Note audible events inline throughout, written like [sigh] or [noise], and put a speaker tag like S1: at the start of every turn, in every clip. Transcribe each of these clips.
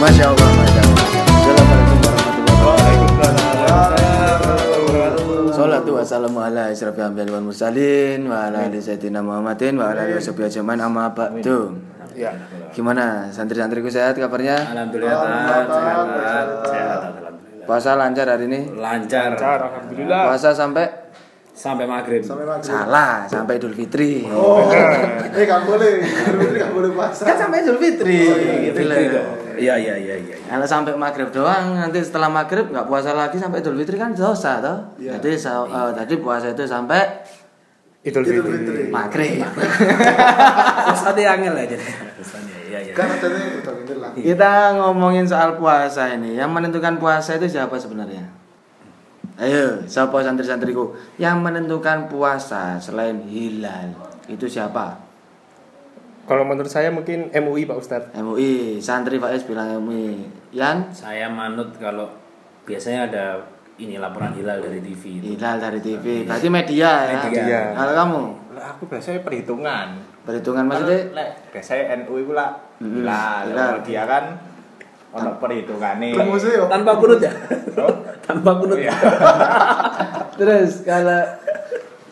S1: Masya Allah, Masya Allah. Assalamualaikum warahmatullahi wabarakatuh.
S2: Iya.
S1: Salatu wassalamu ala asyrafil anbiya'i wal mursalin wa ala ali sayyidina Muhammadin wa ala ali washabihi ajmain amma ba'du.
S2: Iya,
S3: Ya.
S1: Gimana santri-santriku sehat kabarnya?
S4: Alhamdulillah sehat, sehat, sehat, alhamdulillah.
S1: Puasa lancar hari ini?
S4: Lancar
S3: Lancar, alhamdulillah.
S1: Puasa sampai
S4: sampai maghrib.
S2: sampai maghrib.
S1: salah, sampai Idul Fitri.
S2: Oh, eh nggak boleh, Fitri nggak boleh puasa.
S1: Kan sampai Idul Fitri. gitu loh.
S4: Iya iya iya iya.
S1: Kalau sampai maghrib doang, nanti setelah maghrib nggak puasa lagi sampai Idul Fitri kan dosa toh.
S2: Iya.
S1: Jadi sa- eh, tadi puasa itu sampai
S3: Idul
S2: Idul
S3: Fitri.
S2: Gitu, Fitri.
S1: maghrib.
S4: Terus tadi angel ya jadi. Pesannya, Iya iya.
S2: Kan katanya udah bener lah.
S1: Kita ngomongin soal puasa ini. Yang menentukan puasa itu siapa sebenarnya? Ayo, siapa santri-santriku? Yang menentukan puasa selain hilal itu siapa?
S3: Kalau menurut saya mungkin MUI Pak Ustadz.
S1: MUI, santri Faiz bilang MUI. Yang
S4: Saya manut kalau biasanya ada ini laporan hilal dari TV itu.
S1: hilal dari TV. Berarti media ya.
S4: Media.
S1: Kalau kamu
S5: Lah aku biasanya perhitungan.
S1: perhitungan maksudnya
S5: Lek biasanya NU iku lah.
S1: Mm-mm.
S5: Lah,
S1: Lah.
S5: kalau dia kan ono perhitungane.
S2: Promosi yo.
S4: Tanpa kunut ya? [laughs] Tanpa kunut.
S5: Iya.
S1: terus kalau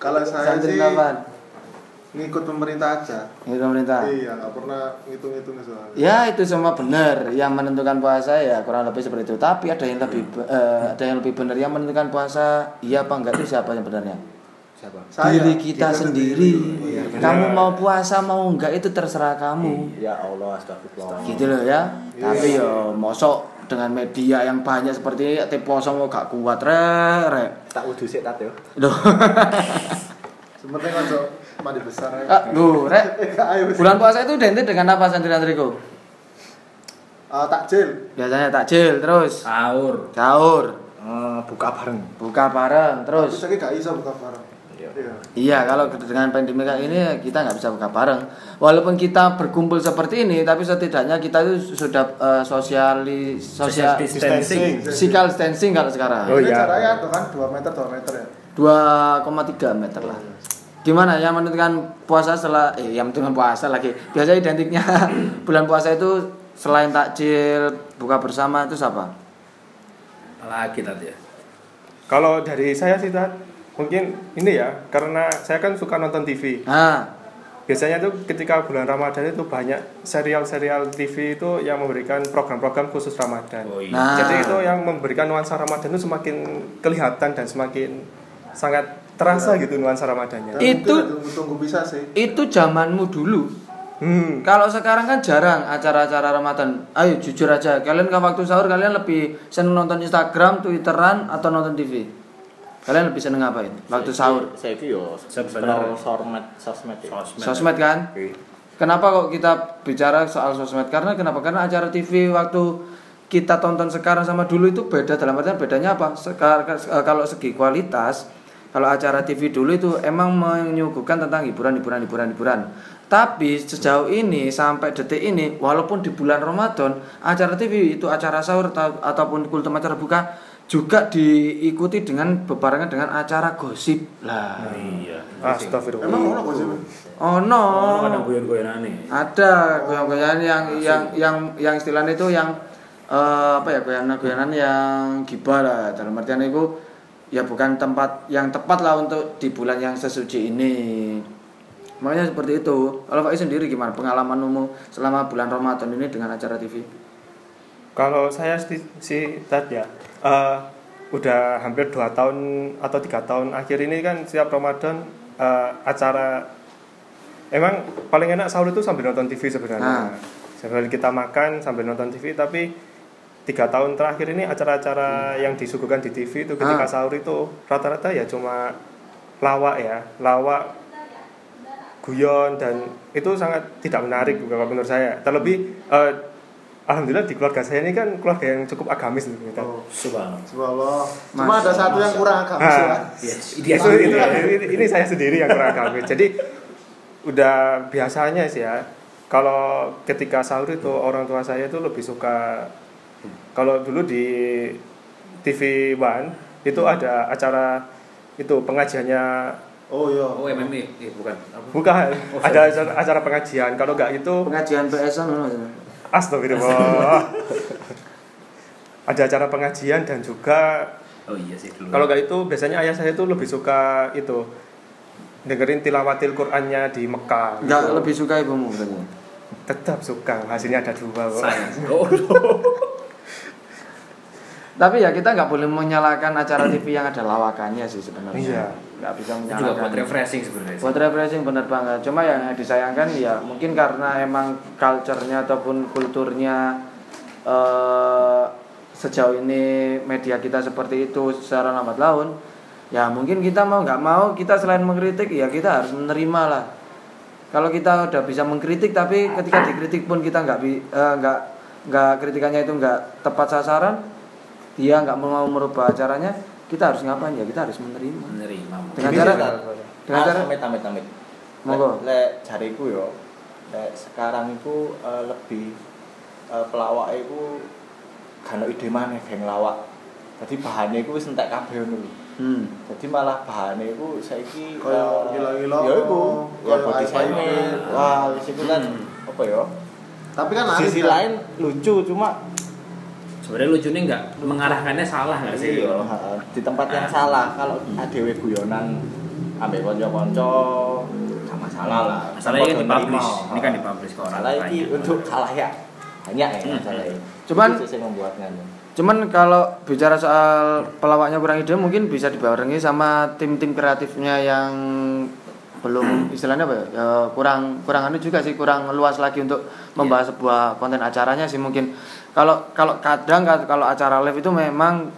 S2: Kalau saya
S1: santri
S2: sih
S1: kapan?
S2: ngikut pemerintah aja.
S1: Ini pemerintah.
S2: Iya, nggak pernah ngitung-ngitung soalnya.
S1: Ya itu semua benar. Yang menentukan puasa ya kurang lebih seperti itu. Tapi ada yang lebih
S5: Iya.
S1: eh, ada yang lebih benar. Yang menentukan puasa iya apa enggak itu siapa sebenarnya?
S5: Siapa?
S2: Saya,
S1: Diri kita, sendiri. Oh,
S2: Iya.
S1: ya. kamu mau puasa mau enggak itu terserah kamu.
S5: Ya Allah, astagfirullah. Iya.
S1: Gitu loh ya. Tapi yo mosok dengan media yang banyak seperti ini ya, tipe kosong kok gak kuat rek rek.
S5: Tak wudu sik tat yo.
S1: Duh.
S2: Sebenarnya kan Cok, mandi besar ya.
S1: [laughs] Ah, duh, rek.
S2: Eh, ayo besar.
S1: Bulan puasa itu identik dengan apa santri-santriku?
S2: Ah, takjil.
S1: Biasanya takjil terus
S4: Sahur.
S1: sahur,
S5: buka bareng.
S1: buka bareng terus
S2: Terus saya nggak bisa buka bareng.
S5: Iya.
S2: Iya.
S1: Iya, kalau dengan pandemi kayak ini kita nggak bisa buka bareng. Walaupun kita berkumpul seperti ini, tapi setidaknya kita itu sudah eh, sosiali sosial
S4: Social distancing.
S1: physical distancing kalau sekarang.
S3: Oh,
S2: Ini
S3: iya.
S2: Jaraknya tuh kan 2 meter 2 meter ya.
S1: 2,3 meter lah. Gimana yang menentukan puasa setelah eh yang menentukan puasa lagi. Biasanya identiknya [laughs] bulan puasa itu selain takjil, buka bersama itu apa?
S4: Lagi tadi ya.
S3: Kalau dari saya sih Tat, mungkin ini ya, karena saya kan suka nonton TV.
S1: Nah,
S3: Biasanya tuh ketika bulan Ramadan itu banyak serial-serial TV itu yang memberikan program-program khusus Ramadan.
S4: Oh iya.
S1: nah.
S3: Jadi itu yang memberikan nuansa Ramadan itu semakin kelihatan dan semakin sangat terasa gitu nuansa Ramadannya.
S1: Itu-
S2: Tunggu, tunggu bisa sih.
S1: itu zamanmu dulu.
S3: Hmm.
S1: Kalau sekarang kan jarang acara-acara Ramadan. Ayo jujur aja, kalian kan waktu sahur kalian lebih seneng nonton Instagram, Twitteran atau nonton TV? Kalian lebih seneng ngapain? Waktu sahur.
S5: Nah, Saya iki yo
S4: Sebenarnya.
S5: scroll sosmed, sosmed. ya.
S4: Sosmed.
S1: Sosmed kan?
S5: Oke.
S1: Kenapa kok kita bicara soal sosmed? Karena kenapa? Karena acara TV waktu kita tonton sekarang sama dulu itu beda dalam artian bedanya apa? Sekar- eh, kalau segi kualitas, kalau acara TV dulu itu emang menyuguhkan tentang hiburan, hiburan, hiburan, hiburan. Tapi sejauh ini sampai detik ini, walaupun di bulan Ramadan, acara TV itu acara sahur ta- ataupun kultum acara buka juga diikuti dengan bebarengan dengan acara gosip lah.
S4: Iya.
S2: Emang
S3: Astagfirullah.
S2: ono kok sih?
S1: Oh no.
S4: Oh, kadang guyon-guyonane.
S1: ada goyang-goyangan yang yang yang yang istilahnya itu yang eh, apa ya goyangan-goyangan yang gibah lah dalam artian itu ya bukan tempat yang tepat lah untuk di bulan yang sesuci ini makanya seperti itu kalau Faiz sendiri gimana pengalamanmu selama bulan Ramadan ini dengan acara TV
S3: Kalau saya si, si Tat ya, eh, udah hampir 2 tahun atau tiga tahun akhir ini kan setiap Ramadan eh, acara emang paling enak sahur itu sambil nonton TV
S1: Ah.
S3: sebenarnya. Sambil kita makan sambil nonton TV tapi tiga tahun terakhir ini acara-acara yang disuguhkan di TV itu ketika
S1: Hmm. Ah.
S3: sahur itu rata-rata ya cuma lawak ya, lawak guyon dan itu sangat tidak menarik kalau menurut saya. Terlebih eh, alhamdulillah di keluarga saya ini kan keluarga yang cukup agamis gitu. Tat.
S2: Oh,
S4: Subhanallah.
S2: subhanallah. Cuma
S1: Mas-
S2: ada satu yang kurang agak
S3: Ah.
S2: ya.
S4: Yes.
S3: Itu, itu- ini, ini saya sendiri yang kurang agamis. Jadi udah biasanya sih ya. Kalau ketika sahur itu orang tua saya itu lebih suka kalau dulu di TV One itu ada acara itu pengajiannya
S2: Oh iya.
S4: Oh MMA, eh bukan. Apa?
S3: bukan ada acara, acara pengajian kalau nggak itu
S1: pengajian PSN
S5: [laughs]
S3: Astagfirullah. Ada acara pengajian dan juga
S4: Oh iya sih dulu.
S3: kalau nggak itu biasanya ayah saya itu lebih suka itu dengerin tilawatil Qur'annya di Mekah.
S1: Enggak lebih suka ibumu katanya.
S3: Tetap suka. Hasilnya ada dua. Pak.
S4: Sains. Oh,
S1: Tapi ya kita nggak boleh menyalahkan acara TV yang ada lawakannya sih sebenarnya.
S3: Iya.
S1: Nggak bisa
S4: itu juga
S1: menyalahkan.
S4: buat refreshing sebenarnya. sih.
S1: Buat refreshing bener banget. Cuma yang disayangkan ya mungkin karena emang culture-nya ataupun kulturnya eh sejauh ini media kita seperti itu secara lambat laun. Ya mungkin kita mau nggak mau kita selain mengkritik ya kita harus menerima lah. Kalau kita udah bisa mengkritik tapi ketika dikritik pun kita nggak bi- eh, nggak nggak kritikannya itu nggak tepat sasaran, dia nggak mau merubah acaranya, kita harus ngapain ya kita harus menerima.
S4: Menerima.
S1: Dengan
S5: Ini
S1: cara
S5: juga.
S1: dengan cara
S5: amit amit amit.
S1: Monggo.
S5: Lek- Lek jariku yo. Lek sekarang itu eh, lebih eh, pelawak itu kan ide mana yang lawak. Jadi bahannya itu sentek kabeh ngono lho.
S1: Hmm.
S5: Jadi malah bahannya itu saiki
S2: Kaya
S5: eh,
S2: gila-gila,
S5: Ya iku, ya
S2: kaya
S5: body
S2: iPhone.
S5: shaming. Wah, wis iku kan
S4: Hmm.
S5: apa ya?
S2: Tapi kan laris,
S5: Sisi
S2: kan?
S5: lain lucu cuma
S4: Sebenarnya lucunya nggak mengarahkannya salah nggak sih?
S5: Iya, di tempat yang salah. Kalau
S4: Hmm.
S5: adewe guyonan ambek kanca-kanca gak masalah lah.
S4: Masalahnya kan
S5: Podo
S4: dipublish.
S5: nerima.
S4: Ini kan dipublish ke orang
S5: Masalah iki
S4: banyak.
S5: untuk salah ya. Banyak ya
S4: Hmm.
S5: masalah ini.
S1: Cuman-
S5: Itu sih yang membuatnya.
S1: Cuman kalau bicara soal pelawaknya kurang ide mungkin bisa dibarengi sama tim-tim kreatifnya yang belum istilahnya apa ya? ya, kurang kurang anu juga sih kurang luas lagi untuk
S5: Iya.
S1: membahas sebuah konten acaranya sih mungkin kalau kalau kadang ka- kalau acara live itu memang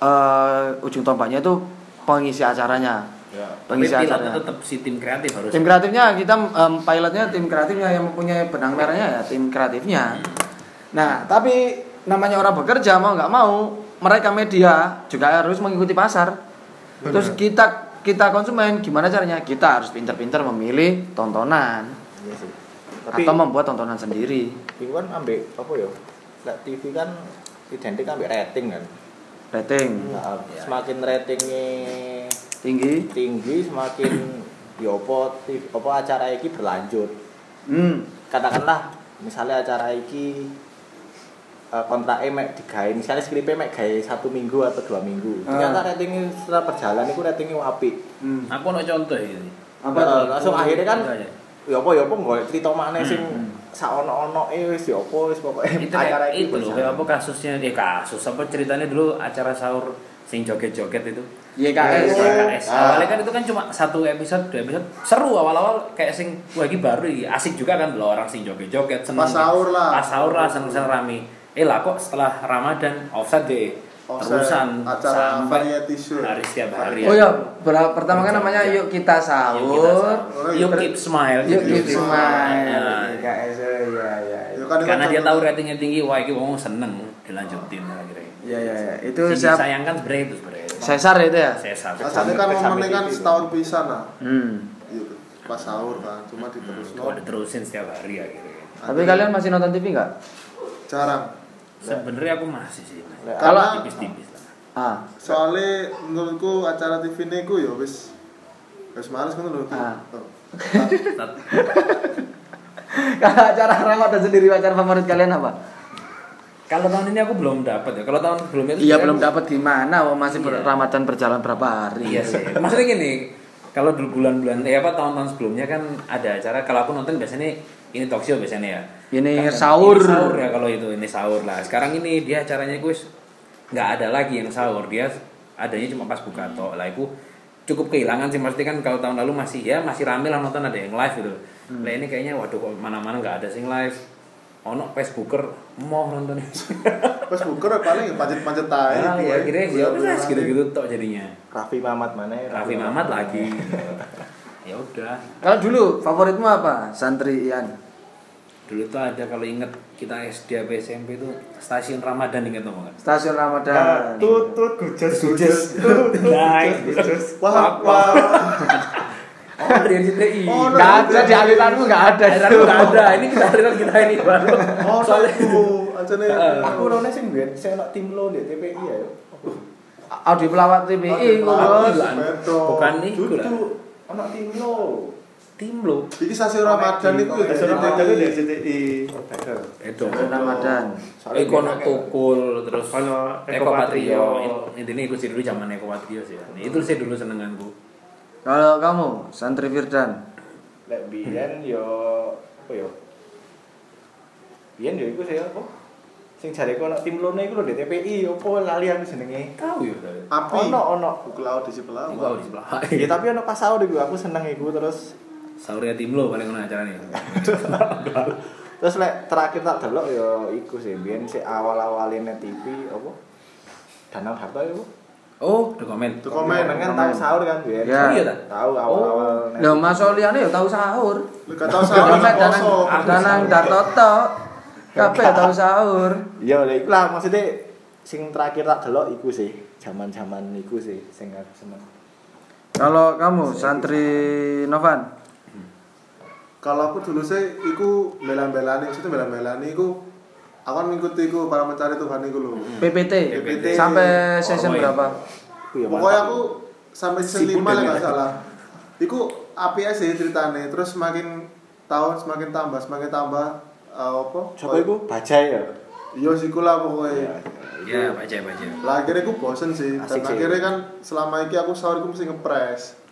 S1: eh, ujung tombaknya itu pengisi acaranya
S5: Ya.
S4: Tapi
S1: pengisi
S4: pilotnya
S1: acaranya
S4: tetap si tim kreatif harus.
S1: tim kreatifnya kita em, pilotnya tim kreatifnya yang mempunyai benang merahnya ya tim kreatifnya nah tapi namanya orang bekerja mau nggak mau mereka media juga harus mengikuti pasar terus kita kita konsumen gimana caranya kita harus pintar-pintar memilih tontonan
S5: Iya sih. Tapi
S1: atau membuat tontonan sendiri
S5: itu kan ambek apa ya? Lek TV kan identik ambek rating kan.
S1: rating
S5: Nah, Semakin ratingnya
S1: tinggi
S5: tinggi semakin [clears throat] ya apa TV apa acara iki berlanjut.
S1: hmm.
S5: katakanlah misalnya acara iki eh, kontraknya mek digawe misalnya skripnya mek gawe satu minggu atau dua minggu
S1: Ah.
S5: ternyata ratingnya setelah perjalanan itu ratingnya apik
S1: hmm.
S4: Aku mau contoh ini.
S1: Apa
S5: Eh,
S1: tuh?
S5: langsung akhirnya kan
S4: Contohnya.
S5: ya apa ya apa nggak cerita mana sing saono ono eh wis ya apa wis pokoknya
S4: itu
S5: acara
S4: kayak
S5: iki
S4: itu loh kayak apa kasusnya eh kasus apa ceritanya dulu acara sahur sing joget-joget itu
S1: YKS
S4: KS.
S5: Ah.
S4: Awalnya kan itu kan cuma satu episode, dua episode. Seru awal-awal kayak sing wah ini baru iki. asik juga kan loh orang sing joget-joget seneng.
S2: Pas sahur lah.
S4: Pas sahur lah seneng-seneng rame. Eh lah kok setelah Ramadan offset deh.
S2: Offset,
S4: Terusan
S2: acara
S4: sampai
S2: variety show.
S4: Hari setiap hari.
S1: oh ya ber- pertama kan namanya yuk kita
S4: Yuk kita
S1: sahur
S4: sahur. Yuk keep smile.
S1: yuk Ah. kita
S2: Yuk
S1: smile
S4: Nah,
S5: KS ya ya
S2: Ya kan itu
S4: Karena dia
S2: contoh-
S4: tahu ratingnya tinggi, wah ini wong seneng dilanjutin akhirnya.
S1: ya ya ya. itu
S4: Itu
S1: siap
S4: sayangkan sebenarnya itu sebenarnya.
S1: Cesar itu ya
S4: Sesar.
S2: Asalnya kan momennya kan setahun pisan lah.
S1: Hmm.
S2: Iya, Pas sahur kan, cuma diterus
S4: Kalau gitu. diterusin setiap hari ya, akhirnya.
S1: Tapi kalian masih nonton TV nggak?
S2: jarang.
S4: Sebenarnya aku masih sih.
S1: Kalau
S2: Karena
S4: Tipis-tipis lah.
S1: ah, [laughs]
S2: soalnya menurutku acara TV ini ku ya wis wis males kan lho.
S1: Ah.
S2: Oh.
S4: Tet-
S1: kalau acara Ramadan sendiri acara favorit kalian apa?
S4: Kalau tahun ini aku belum dapat ya. Kalau tahun sebelumnya itu
S1: Iya
S4: sebenarnya
S1: belum
S4: aku-
S1: dapat gimana, wah masih ber-
S4: Iya.
S1: Ramadan berjalan berapa hari?
S4: Iya sih. Maksudnya gini, kalau dulu bulan-bulan ya apa tahun-tahun sebelumnya kan ada acara kalau aku nonton biasanya ini talk show biasanya ya.
S1: Ini
S4: Kan-
S1: sahur.
S4: Ini sahur ya kalau itu ini sahur lah. Sekarang ini dia acaranya gue nggak ada lagi yang sahur. Dia adanya cuma pas buka tol lah. Aku cukup kehilangan sih pasti kan kalau tahun lalu masih ya masih rame lah nonton ada yang live gitu.
S1: Hmm.
S4: Lah ini kayaknya waduh kok mana-mana nggak ada sing live. Ono Facebooker mau nontonnya.
S2: Pas buker ya paling pancet-pancet ae.
S4: Nah, ya akhirnya ya
S2: Bulan-bulan
S4: wes, gitu-gitu tok jadinya.
S5: Raffi Mamat mana ya
S4: Raffi Mamat lagi. [laughs] ya udah.
S1: Kalau dulu favoritmu apa? Santri Ian.
S4: Dulu tuh ada kalau inget kita SD apa SMP tuh stasiun Ramadan inget ngomong nggak?
S1: Stasiun
S3: Ah,
S1: Ramadan.
S3: Tut tut gujas gujas tut
S5: [laughs]
S3: tut gujas gujas.
S2: Wah, wah.
S4: Oh, dia di TI.
S2: Oh,
S1: Nggak ada di aliranmu nggak ada.
S4: Akhirnya aku nggak ada. Ini kita aliran kita ini baru.
S2: Oh,
S4: Soalnya
S2: aku acane.
S5: aku nonton sing biyen sing ono tim lo di TPI ya yo.
S1: Audio pelawat TBI.
S2: Pelawat.
S1: ngurus.
S4: Bukan
S2: Betul.
S4: Bukan itu lah.
S5: Dudu ono tim lo.
S4: tim lo
S2: Iki sasi Ramadan iku ya. jadi-
S3: Nasional Ramadan dari CTI.
S4: itu
S1: Ramadan.
S5: Soalnya
S4: Iko
S5: dia-
S4: Tukul terus
S3: Ono
S4: Eko
S3: Eko Patrio.
S4: Patrio In- intinya ikut sih dulu zaman Eko Patrio sih ya. itu sih dulu senenganku
S1: Kalau kamu santri Firdan,
S5: Lek
S4: Hmm.
S5: biyen yo apa yo? Biyen yo iku sih apa? Sing jare ku ana tim lone iku lho DTPI opo lali aku jenenge.
S4: tahu ya tapi
S2: Api.
S5: Ono ono.
S2: Buku laut di sebelah.
S4: Iku aku di sebelah
S5: Ya tapi ono pas sahur iku aku seneng iku terus
S4: Sauria tim lo paling kena acara nih
S5: terus lek terakhir tak delok yo iku sih biyen sik awal-awale net TV apa? Danang Harto iku.
S4: oh the comment
S2: Tuh komen
S5: kan tahu sahur kan biyen.
S1: Ya.
S4: Iya, Oh, tak?
S5: Tahu awal-awal net.
S1: lo Mas Oliane ya tahu sahur.
S2: Lu gak tau
S1: Kalau
S2: sama orang
S1: danang
S2: poso.
S1: danang dartoto, kabeh tahu sahur.
S5: Ya lek iku lah maksudnya sing terakhir tak delok iku sih jaman-jaman iku sih sing aku seneng.
S1: Kalau kamu santri Novan,
S2: Kalau aku dulu sih, iku bela-belani, maksudnya bela-belani iku aku kan ngikuti iku para mencari Tuhan iku lho.
S1: Hmm. PPT,
S2: PPT.
S1: sampai season
S4: Orwell.
S1: berapa?
S5: Iku ya
S2: Pokoknya
S5: mantap.
S2: aku sampai
S4: Si
S2: season 5 lah
S4: Bunda
S2: nggak
S4: merah.
S2: salah. Iku api aja sih ceritanya, terus semakin tahun semakin tambah, semakin tambah eh, apa?
S5: Coba iku bajai ya.
S2: Iya sih iku lah pokoknya.
S4: ya baca baca
S2: Lah akhirnya aku bosen sih, dan
S5: Asik sih.
S2: akhirnya kan selama ini aku sahur aku mesti ngepres.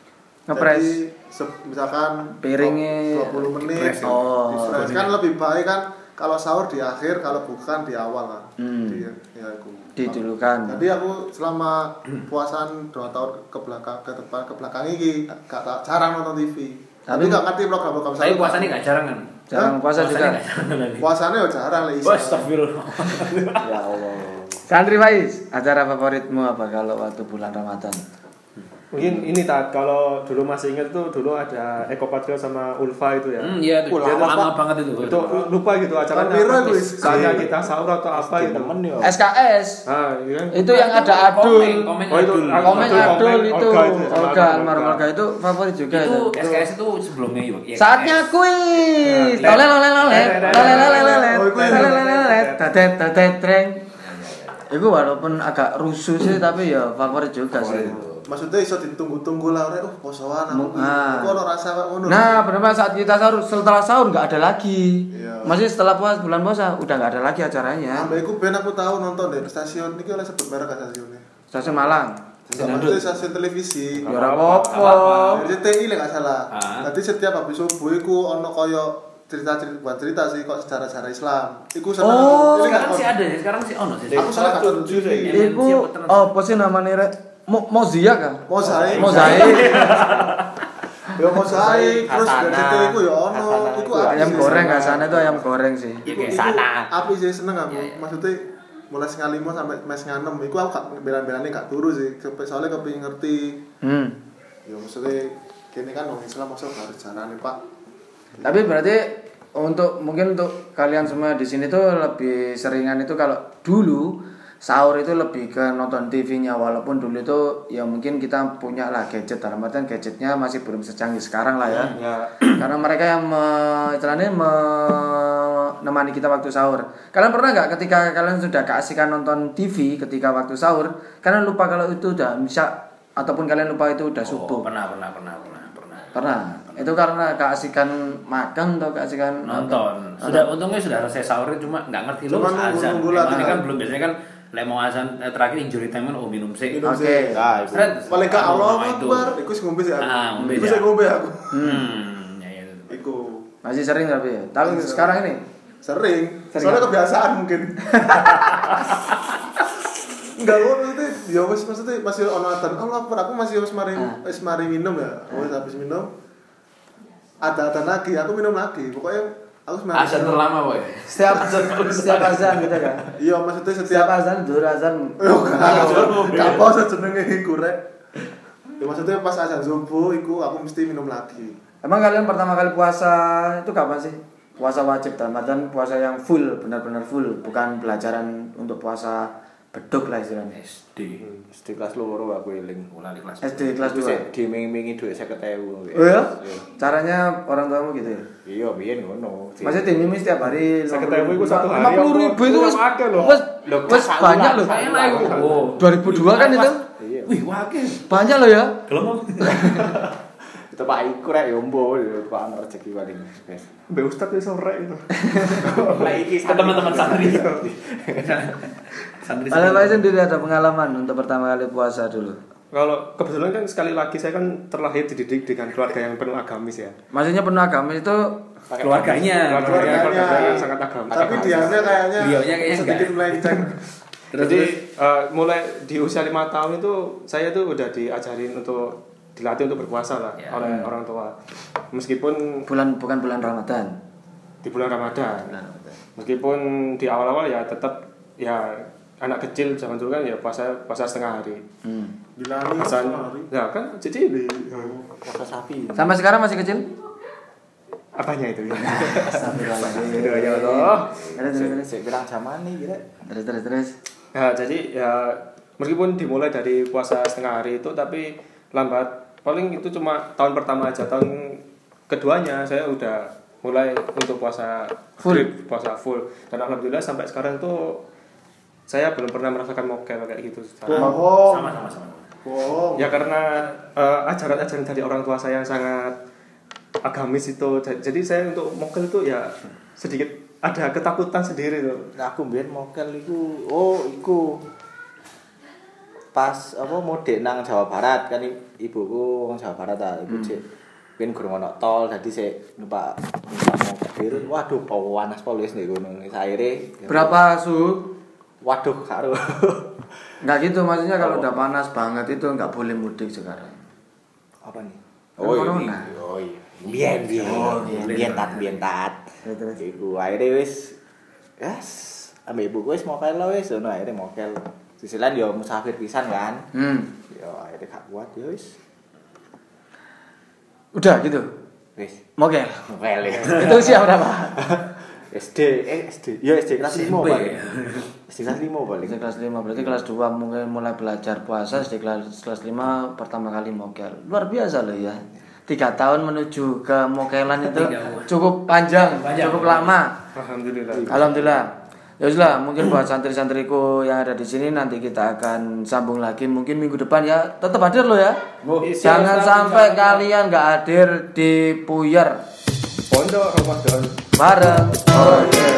S1: Ngepres?
S2: Jadi, se- misalkan
S1: Piringnya-
S2: 20 menit.
S4: Ngepres.
S1: Oh.
S2: Ngepres. kan lebih baik kan kalau sahur di akhir, kalau bukan di awal kan.
S1: Hmm.
S2: Jadi, ya aku.
S1: Didulukan.
S2: Jadi aku selama puasan 2 tahun ke belakang ke depan ke belakang ini gak tak jarang nonton TV. Tapi
S1: Tapi-
S2: gak ngerti program-program
S4: tapi
S2: sahur.
S4: puasanya nggak jarang kan
S1: Jarang puasa juga.
S4: nggak jarang lagi
S2: Puasanya ya jarang lah
S4: Oh, Astagfirullah.
S5: Ya Allah.
S1: Santri Faiz, acara favoritmu apa kalau waktu bulan Ramadan?
S3: Mungkin ini tak kalau dulu masih ingat tuh dulu ada Eko Patrio sama Ulfa itu ya.
S4: Hmm, iya, itu
S5: Ulah,
S4: dia
S5: apa,
S4: lama
S5: Pak?
S4: banget itu.
S3: Itu lupa gitu acaranya.
S2: Tapi
S3: apa,
S2: ragu,
S3: terus Saatnya kita sahur atau apa
S5: Iya. Pasti
S3: gitu.
S5: temen yo.
S1: SKS,
S3: Ah, iya kan?
S1: itu yang ada
S4: Komen,
S1: adul.
S4: Komen,
S3: Oh, itu
S4: adul.
S3: aku-
S1: Komen
S3: Adul,
S1: Adul
S3: Komen,
S1: itu,
S3: Olga itu ya, sama
S1: Olga,
S3: Adul,
S1: almarhum
S3: Olga.
S1: Olga itu favorit juga
S4: itu
S1: itu.
S4: SKS itu sebelumnya yuk.
S1: Iya,
S4: Ya,
S1: Saatnya kuis.
S3: Ya.
S1: Lole lole lole.
S3: Ya.
S1: Lole lole lole.
S2: Oh, kuis.
S1: Lole lole lole. Tetet tetet treng. Iku walaupun agak rusuh sih tapi ya favorit juga sih.
S2: Maksudnya iso ditunggu-tunggu lah orang, oh posoan aku.
S1: Ah.
S2: Aku ono rasa kayak ngono.
S1: Nah, benar Mas, saat kita sahur setelah sahur nggak ada lagi.
S2: Iya.
S1: Masih setelah puas bulan puasa udah nggak ada lagi acaranya.
S2: Ambil iku ben aku tahu nonton deh stasiun iki oleh sebut merek kan stasiunnya.
S1: Stasiun Malang.
S2: Maksudnya stasiun televisi.
S1: Ya ora apa-apa.
S2: Dari CTI lah nggak salah.
S4: Ah.
S2: Nanti setiap habis subuh iku ono koyo cerita-cerita bukan cerita sih kok sejarah-sejarah Islam. Iku seneng
S1: Oh,
S2: aku. Ini
S4: Sekarang
S2: nggak-
S4: sih ada ya, sekarang sih ono sih.
S2: Aku salah kata TV.
S4: Iya.
S1: Iku apa sih namanya Rek? Mo Mozia kah?
S2: Mozaik.
S1: Mozaik.
S2: Ya mozaik terus dari
S5: Khasana.
S2: CTI iku ya ono.
S5: Khasana
S2: Iku
S5: iku
S2: api
S1: Ayam
S2: sih
S1: goreng
S2: seneng.
S1: nggak sana itu ayam goreng sih.
S4: Ya,
S2: Iku
S4: kayak
S2: iku
S4: sana.
S2: api sih seneng aku. Maksudnya mulai setengah lima sampai mes setengah enam iku aku gak bela-belane gak turu sih. Kepe- Soalnya kepengin ngerti
S1: Hmm.
S2: ya maksudnya kini kan orang Islam maksudnya harus jalan nih pak
S1: Tapi berarti untuk mungkin untuk kalian semua di sini tuh lebih seringan itu kalau dulu sahur itu lebih ke nonton TV-nya walaupun dulu itu ya mungkin kita punya lah gadget dalam artian gadgetnya masih belum secanggih sekarang lah ya
S5: Ya.
S1: [clears throat] karena mereka yang me- istilahnya menemani kita waktu sahur kalian pernah nggak ketika kalian sudah keasikan nonton TV ketika waktu sahur kalian lupa kalau itu udah bisa ataupun kalian lupa itu udah subuh
S4: Oh, pernah, pernah, pernah, pernah, pernah.
S1: pernah itu karena keasikan makan atau keasikan
S4: Nonton. Sudah untungnya sudah selesai sahurnya cuma nggak ngerti lu
S2: Cuma
S4: azan.
S2: nunggu-nunggu lah,
S4: Emang Ini
S2: kan.
S4: kan belum biasanya kan lek mau azan eh, terakhir injury time kan oh minum sih.
S2: Minum
S1: Oke.
S2: sih.
S5: Nah, iku.
S4: Seret.
S2: paling ke
S4: Aduh,
S2: Allah
S4: nama itu.
S2: Akbar iku sih ngombe sih aku
S4: Ah, ngombe
S2: iku
S4: ya.
S2: sih ngombe aku
S4: Hmm, ya, ya, itu.
S2: iku
S1: masih sering tapi ya tapi
S2: Iya.
S1: sekarang ini
S2: sering
S1: Sering
S2: soalnya
S1: apa?
S2: kebiasaan mungkin [laughs] enggak lu maksudnya ya wis maksudnya masih ono atan Allah Akbar aku masih wis mari
S1: Ah.
S2: wis mari minum ya
S4: Ah.
S2: wis habis minum ada atan lagi aku minum lagi pokoknya aku wis mari
S4: Azan
S2: minum.
S4: terlama boy.
S1: setiap [laughs] setiap azan gitu kan
S2: iya maksudnya setiap
S1: setiap azan dua azan
S2: Yo gak apa jenenge iku rek. Ya maksudnya pas azan subuh iku aku mesti minum lagi.
S1: emang kalian pertama kali puasa itu kapan sih puasa wajib dalam artian puasa yang full benar-benar full bukan pelajaran untuk puasa beduk lah istilahnya
S4: SD.
S5: Mesti kelas loro aku eling.
S4: Ulah di kelas.
S1: SD kelas
S5: Iku sik
S1: 2
S5: dimingi-mingi duit 50.000.
S1: oh ya caranya orang tuamu gitu ya
S5: Iya, biyen ngono. Sih.
S1: Maksudnya tim ini setiap hari
S3: Saya ketemu itu satu hari,
S1: ribu itu
S3: kurang
S1: wes
S3: akeh loh.
S1: wes
S5: Loh,
S1: wes
S5: sahuran,
S1: banyak loh
S4: Saya lah iku. Oh.
S1: 2002 kan itu
S5: Iya.
S4: Wih, wakil.
S1: banyak loh ya
S4: Kalau mau.
S5: Itu Pak Iku rek yo mbo yo Pak ana rezeki paling best.
S3: Mbak Ustadz itu sore itu.
S5: Lah iki teman-teman santri.
S4: Santri
S1: Kalau Pak sendiri ada pengalaman untuk pertama kali puasa dulu.
S3: Kalau kebetulan kan sekali lagi saya kan terlahir dididik dengan keluarga yang penuh agamis ya.
S1: Maksudnya penuh agama itu Iya,
S4: keluarganya.
S3: Keluarga yang
S2: Keluarganya.
S3: keluarga yang sangat agamis.
S2: Tapi dianya kayaknya
S4: Beliaunya kayaknya
S2: sedikit
S4: enggak.
S2: melenceng.
S4: Terus,
S3: Jadi
S4: terus
S3: eh, mulai di usia lima tahun itu saya tuh udah diajarin untuk dilatih untuk berpuasa lah
S4: Ya.
S3: oleh orang tua. Meskipun
S1: bulan bukan bulan Ramadan.
S3: di bulan Ramadan. Meskipun di awal-awal ya tetap ya anak kecil zaman dulu kan ya puasa puasa setengah hari.
S1: Hmm.
S2: Dilani
S3: Puasa,
S2: semua hari.
S3: ya kan jadi di-
S5: Rasa sapi.
S1: Sampai sekarang masih kecil?
S3: apanya itu [laughs] ya?
S1: Astagfirullahaladzim.
S3: Aduh, ya Allah.
S1: Terus terus terus.
S5: Sik pirang jaman nih kira.
S1: Terus terus terus.
S3: Nah, jadi ya meskipun dimulai dari puasa setengah hari itu tapi lambat paling itu cuma tahun pertama aja tahun keduanya saya udah mulai untuk puasa
S1: Full.
S3: strict, puasa full dan alhamdulillah sampai sekarang tuh saya belum pernah merasakan mokel kayak gitu
S2: Bohong.
S4: sama sama sama.
S2: Bohong.
S3: ya karena eh, ajaran-ajaran dari orang tua saya yang sangat agamis itu Ja- jadi saya untuk mokel itu ya sedikit ada ketakutan sendiri tuh
S5: Nah, aku mbiyen mokel iku oh iku pas apa mode nang Jawa Barat kan i- ibuku wong Jawa Barat ta
S1: Hmm.
S5: ibu cek ben gurung ono tol dadi sik numpak numpak mobil waduh panas polis nek ngono wis aire
S1: Berapa suhu?
S5: waduh karo
S1: Enggak gitu maksudnya kalau udah panas banget itu nggak boleh mudik sekarang.
S5: [laughs] apa nih
S1: Oh, Corona.
S5: oh iya biyen biyen
S1: Oh,
S5: biyen
S1: biyen.
S5: biyen tat biyen tat
S1: Terus, terus.
S5: iku aire wis yes ambek ibuku wis mokel lo wis ono aire mokel sisilan yo musafir pisan kan
S1: Hmm.
S5: ya akhirnya gak kuat ya wis
S1: Udah gitu.
S5: wis
S1: Oke.
S5: novel ya
S1: Itu usia berapa?
S5: [laughs] SD eh SD ya SD kelas
S4: SMP.
S5: 5 paling SD kelas 5 paling
S1: SD kelas 5, berarti kelas 2 mungkin mulai belajar puasa SD kelas kelas 5 pertama kali mokel. Luar biasa loh ya. Tiga tahun menuju ke mokelan itu cukup panjang,
S4: Panjang.
S1: cukup lama.
S3: alhamdulillah
S1: Alhamdulillah. Ya wis lah, mungkin buat santri-santriku yang ada di sini nanti kita akan sambung lagi mungkin minggu depan ya. Tetap hadir loh ya. Jangan sampai kalian nggak hadir di puyer
S3: pondok Ramadan
S1: bareng. Oh, yeah.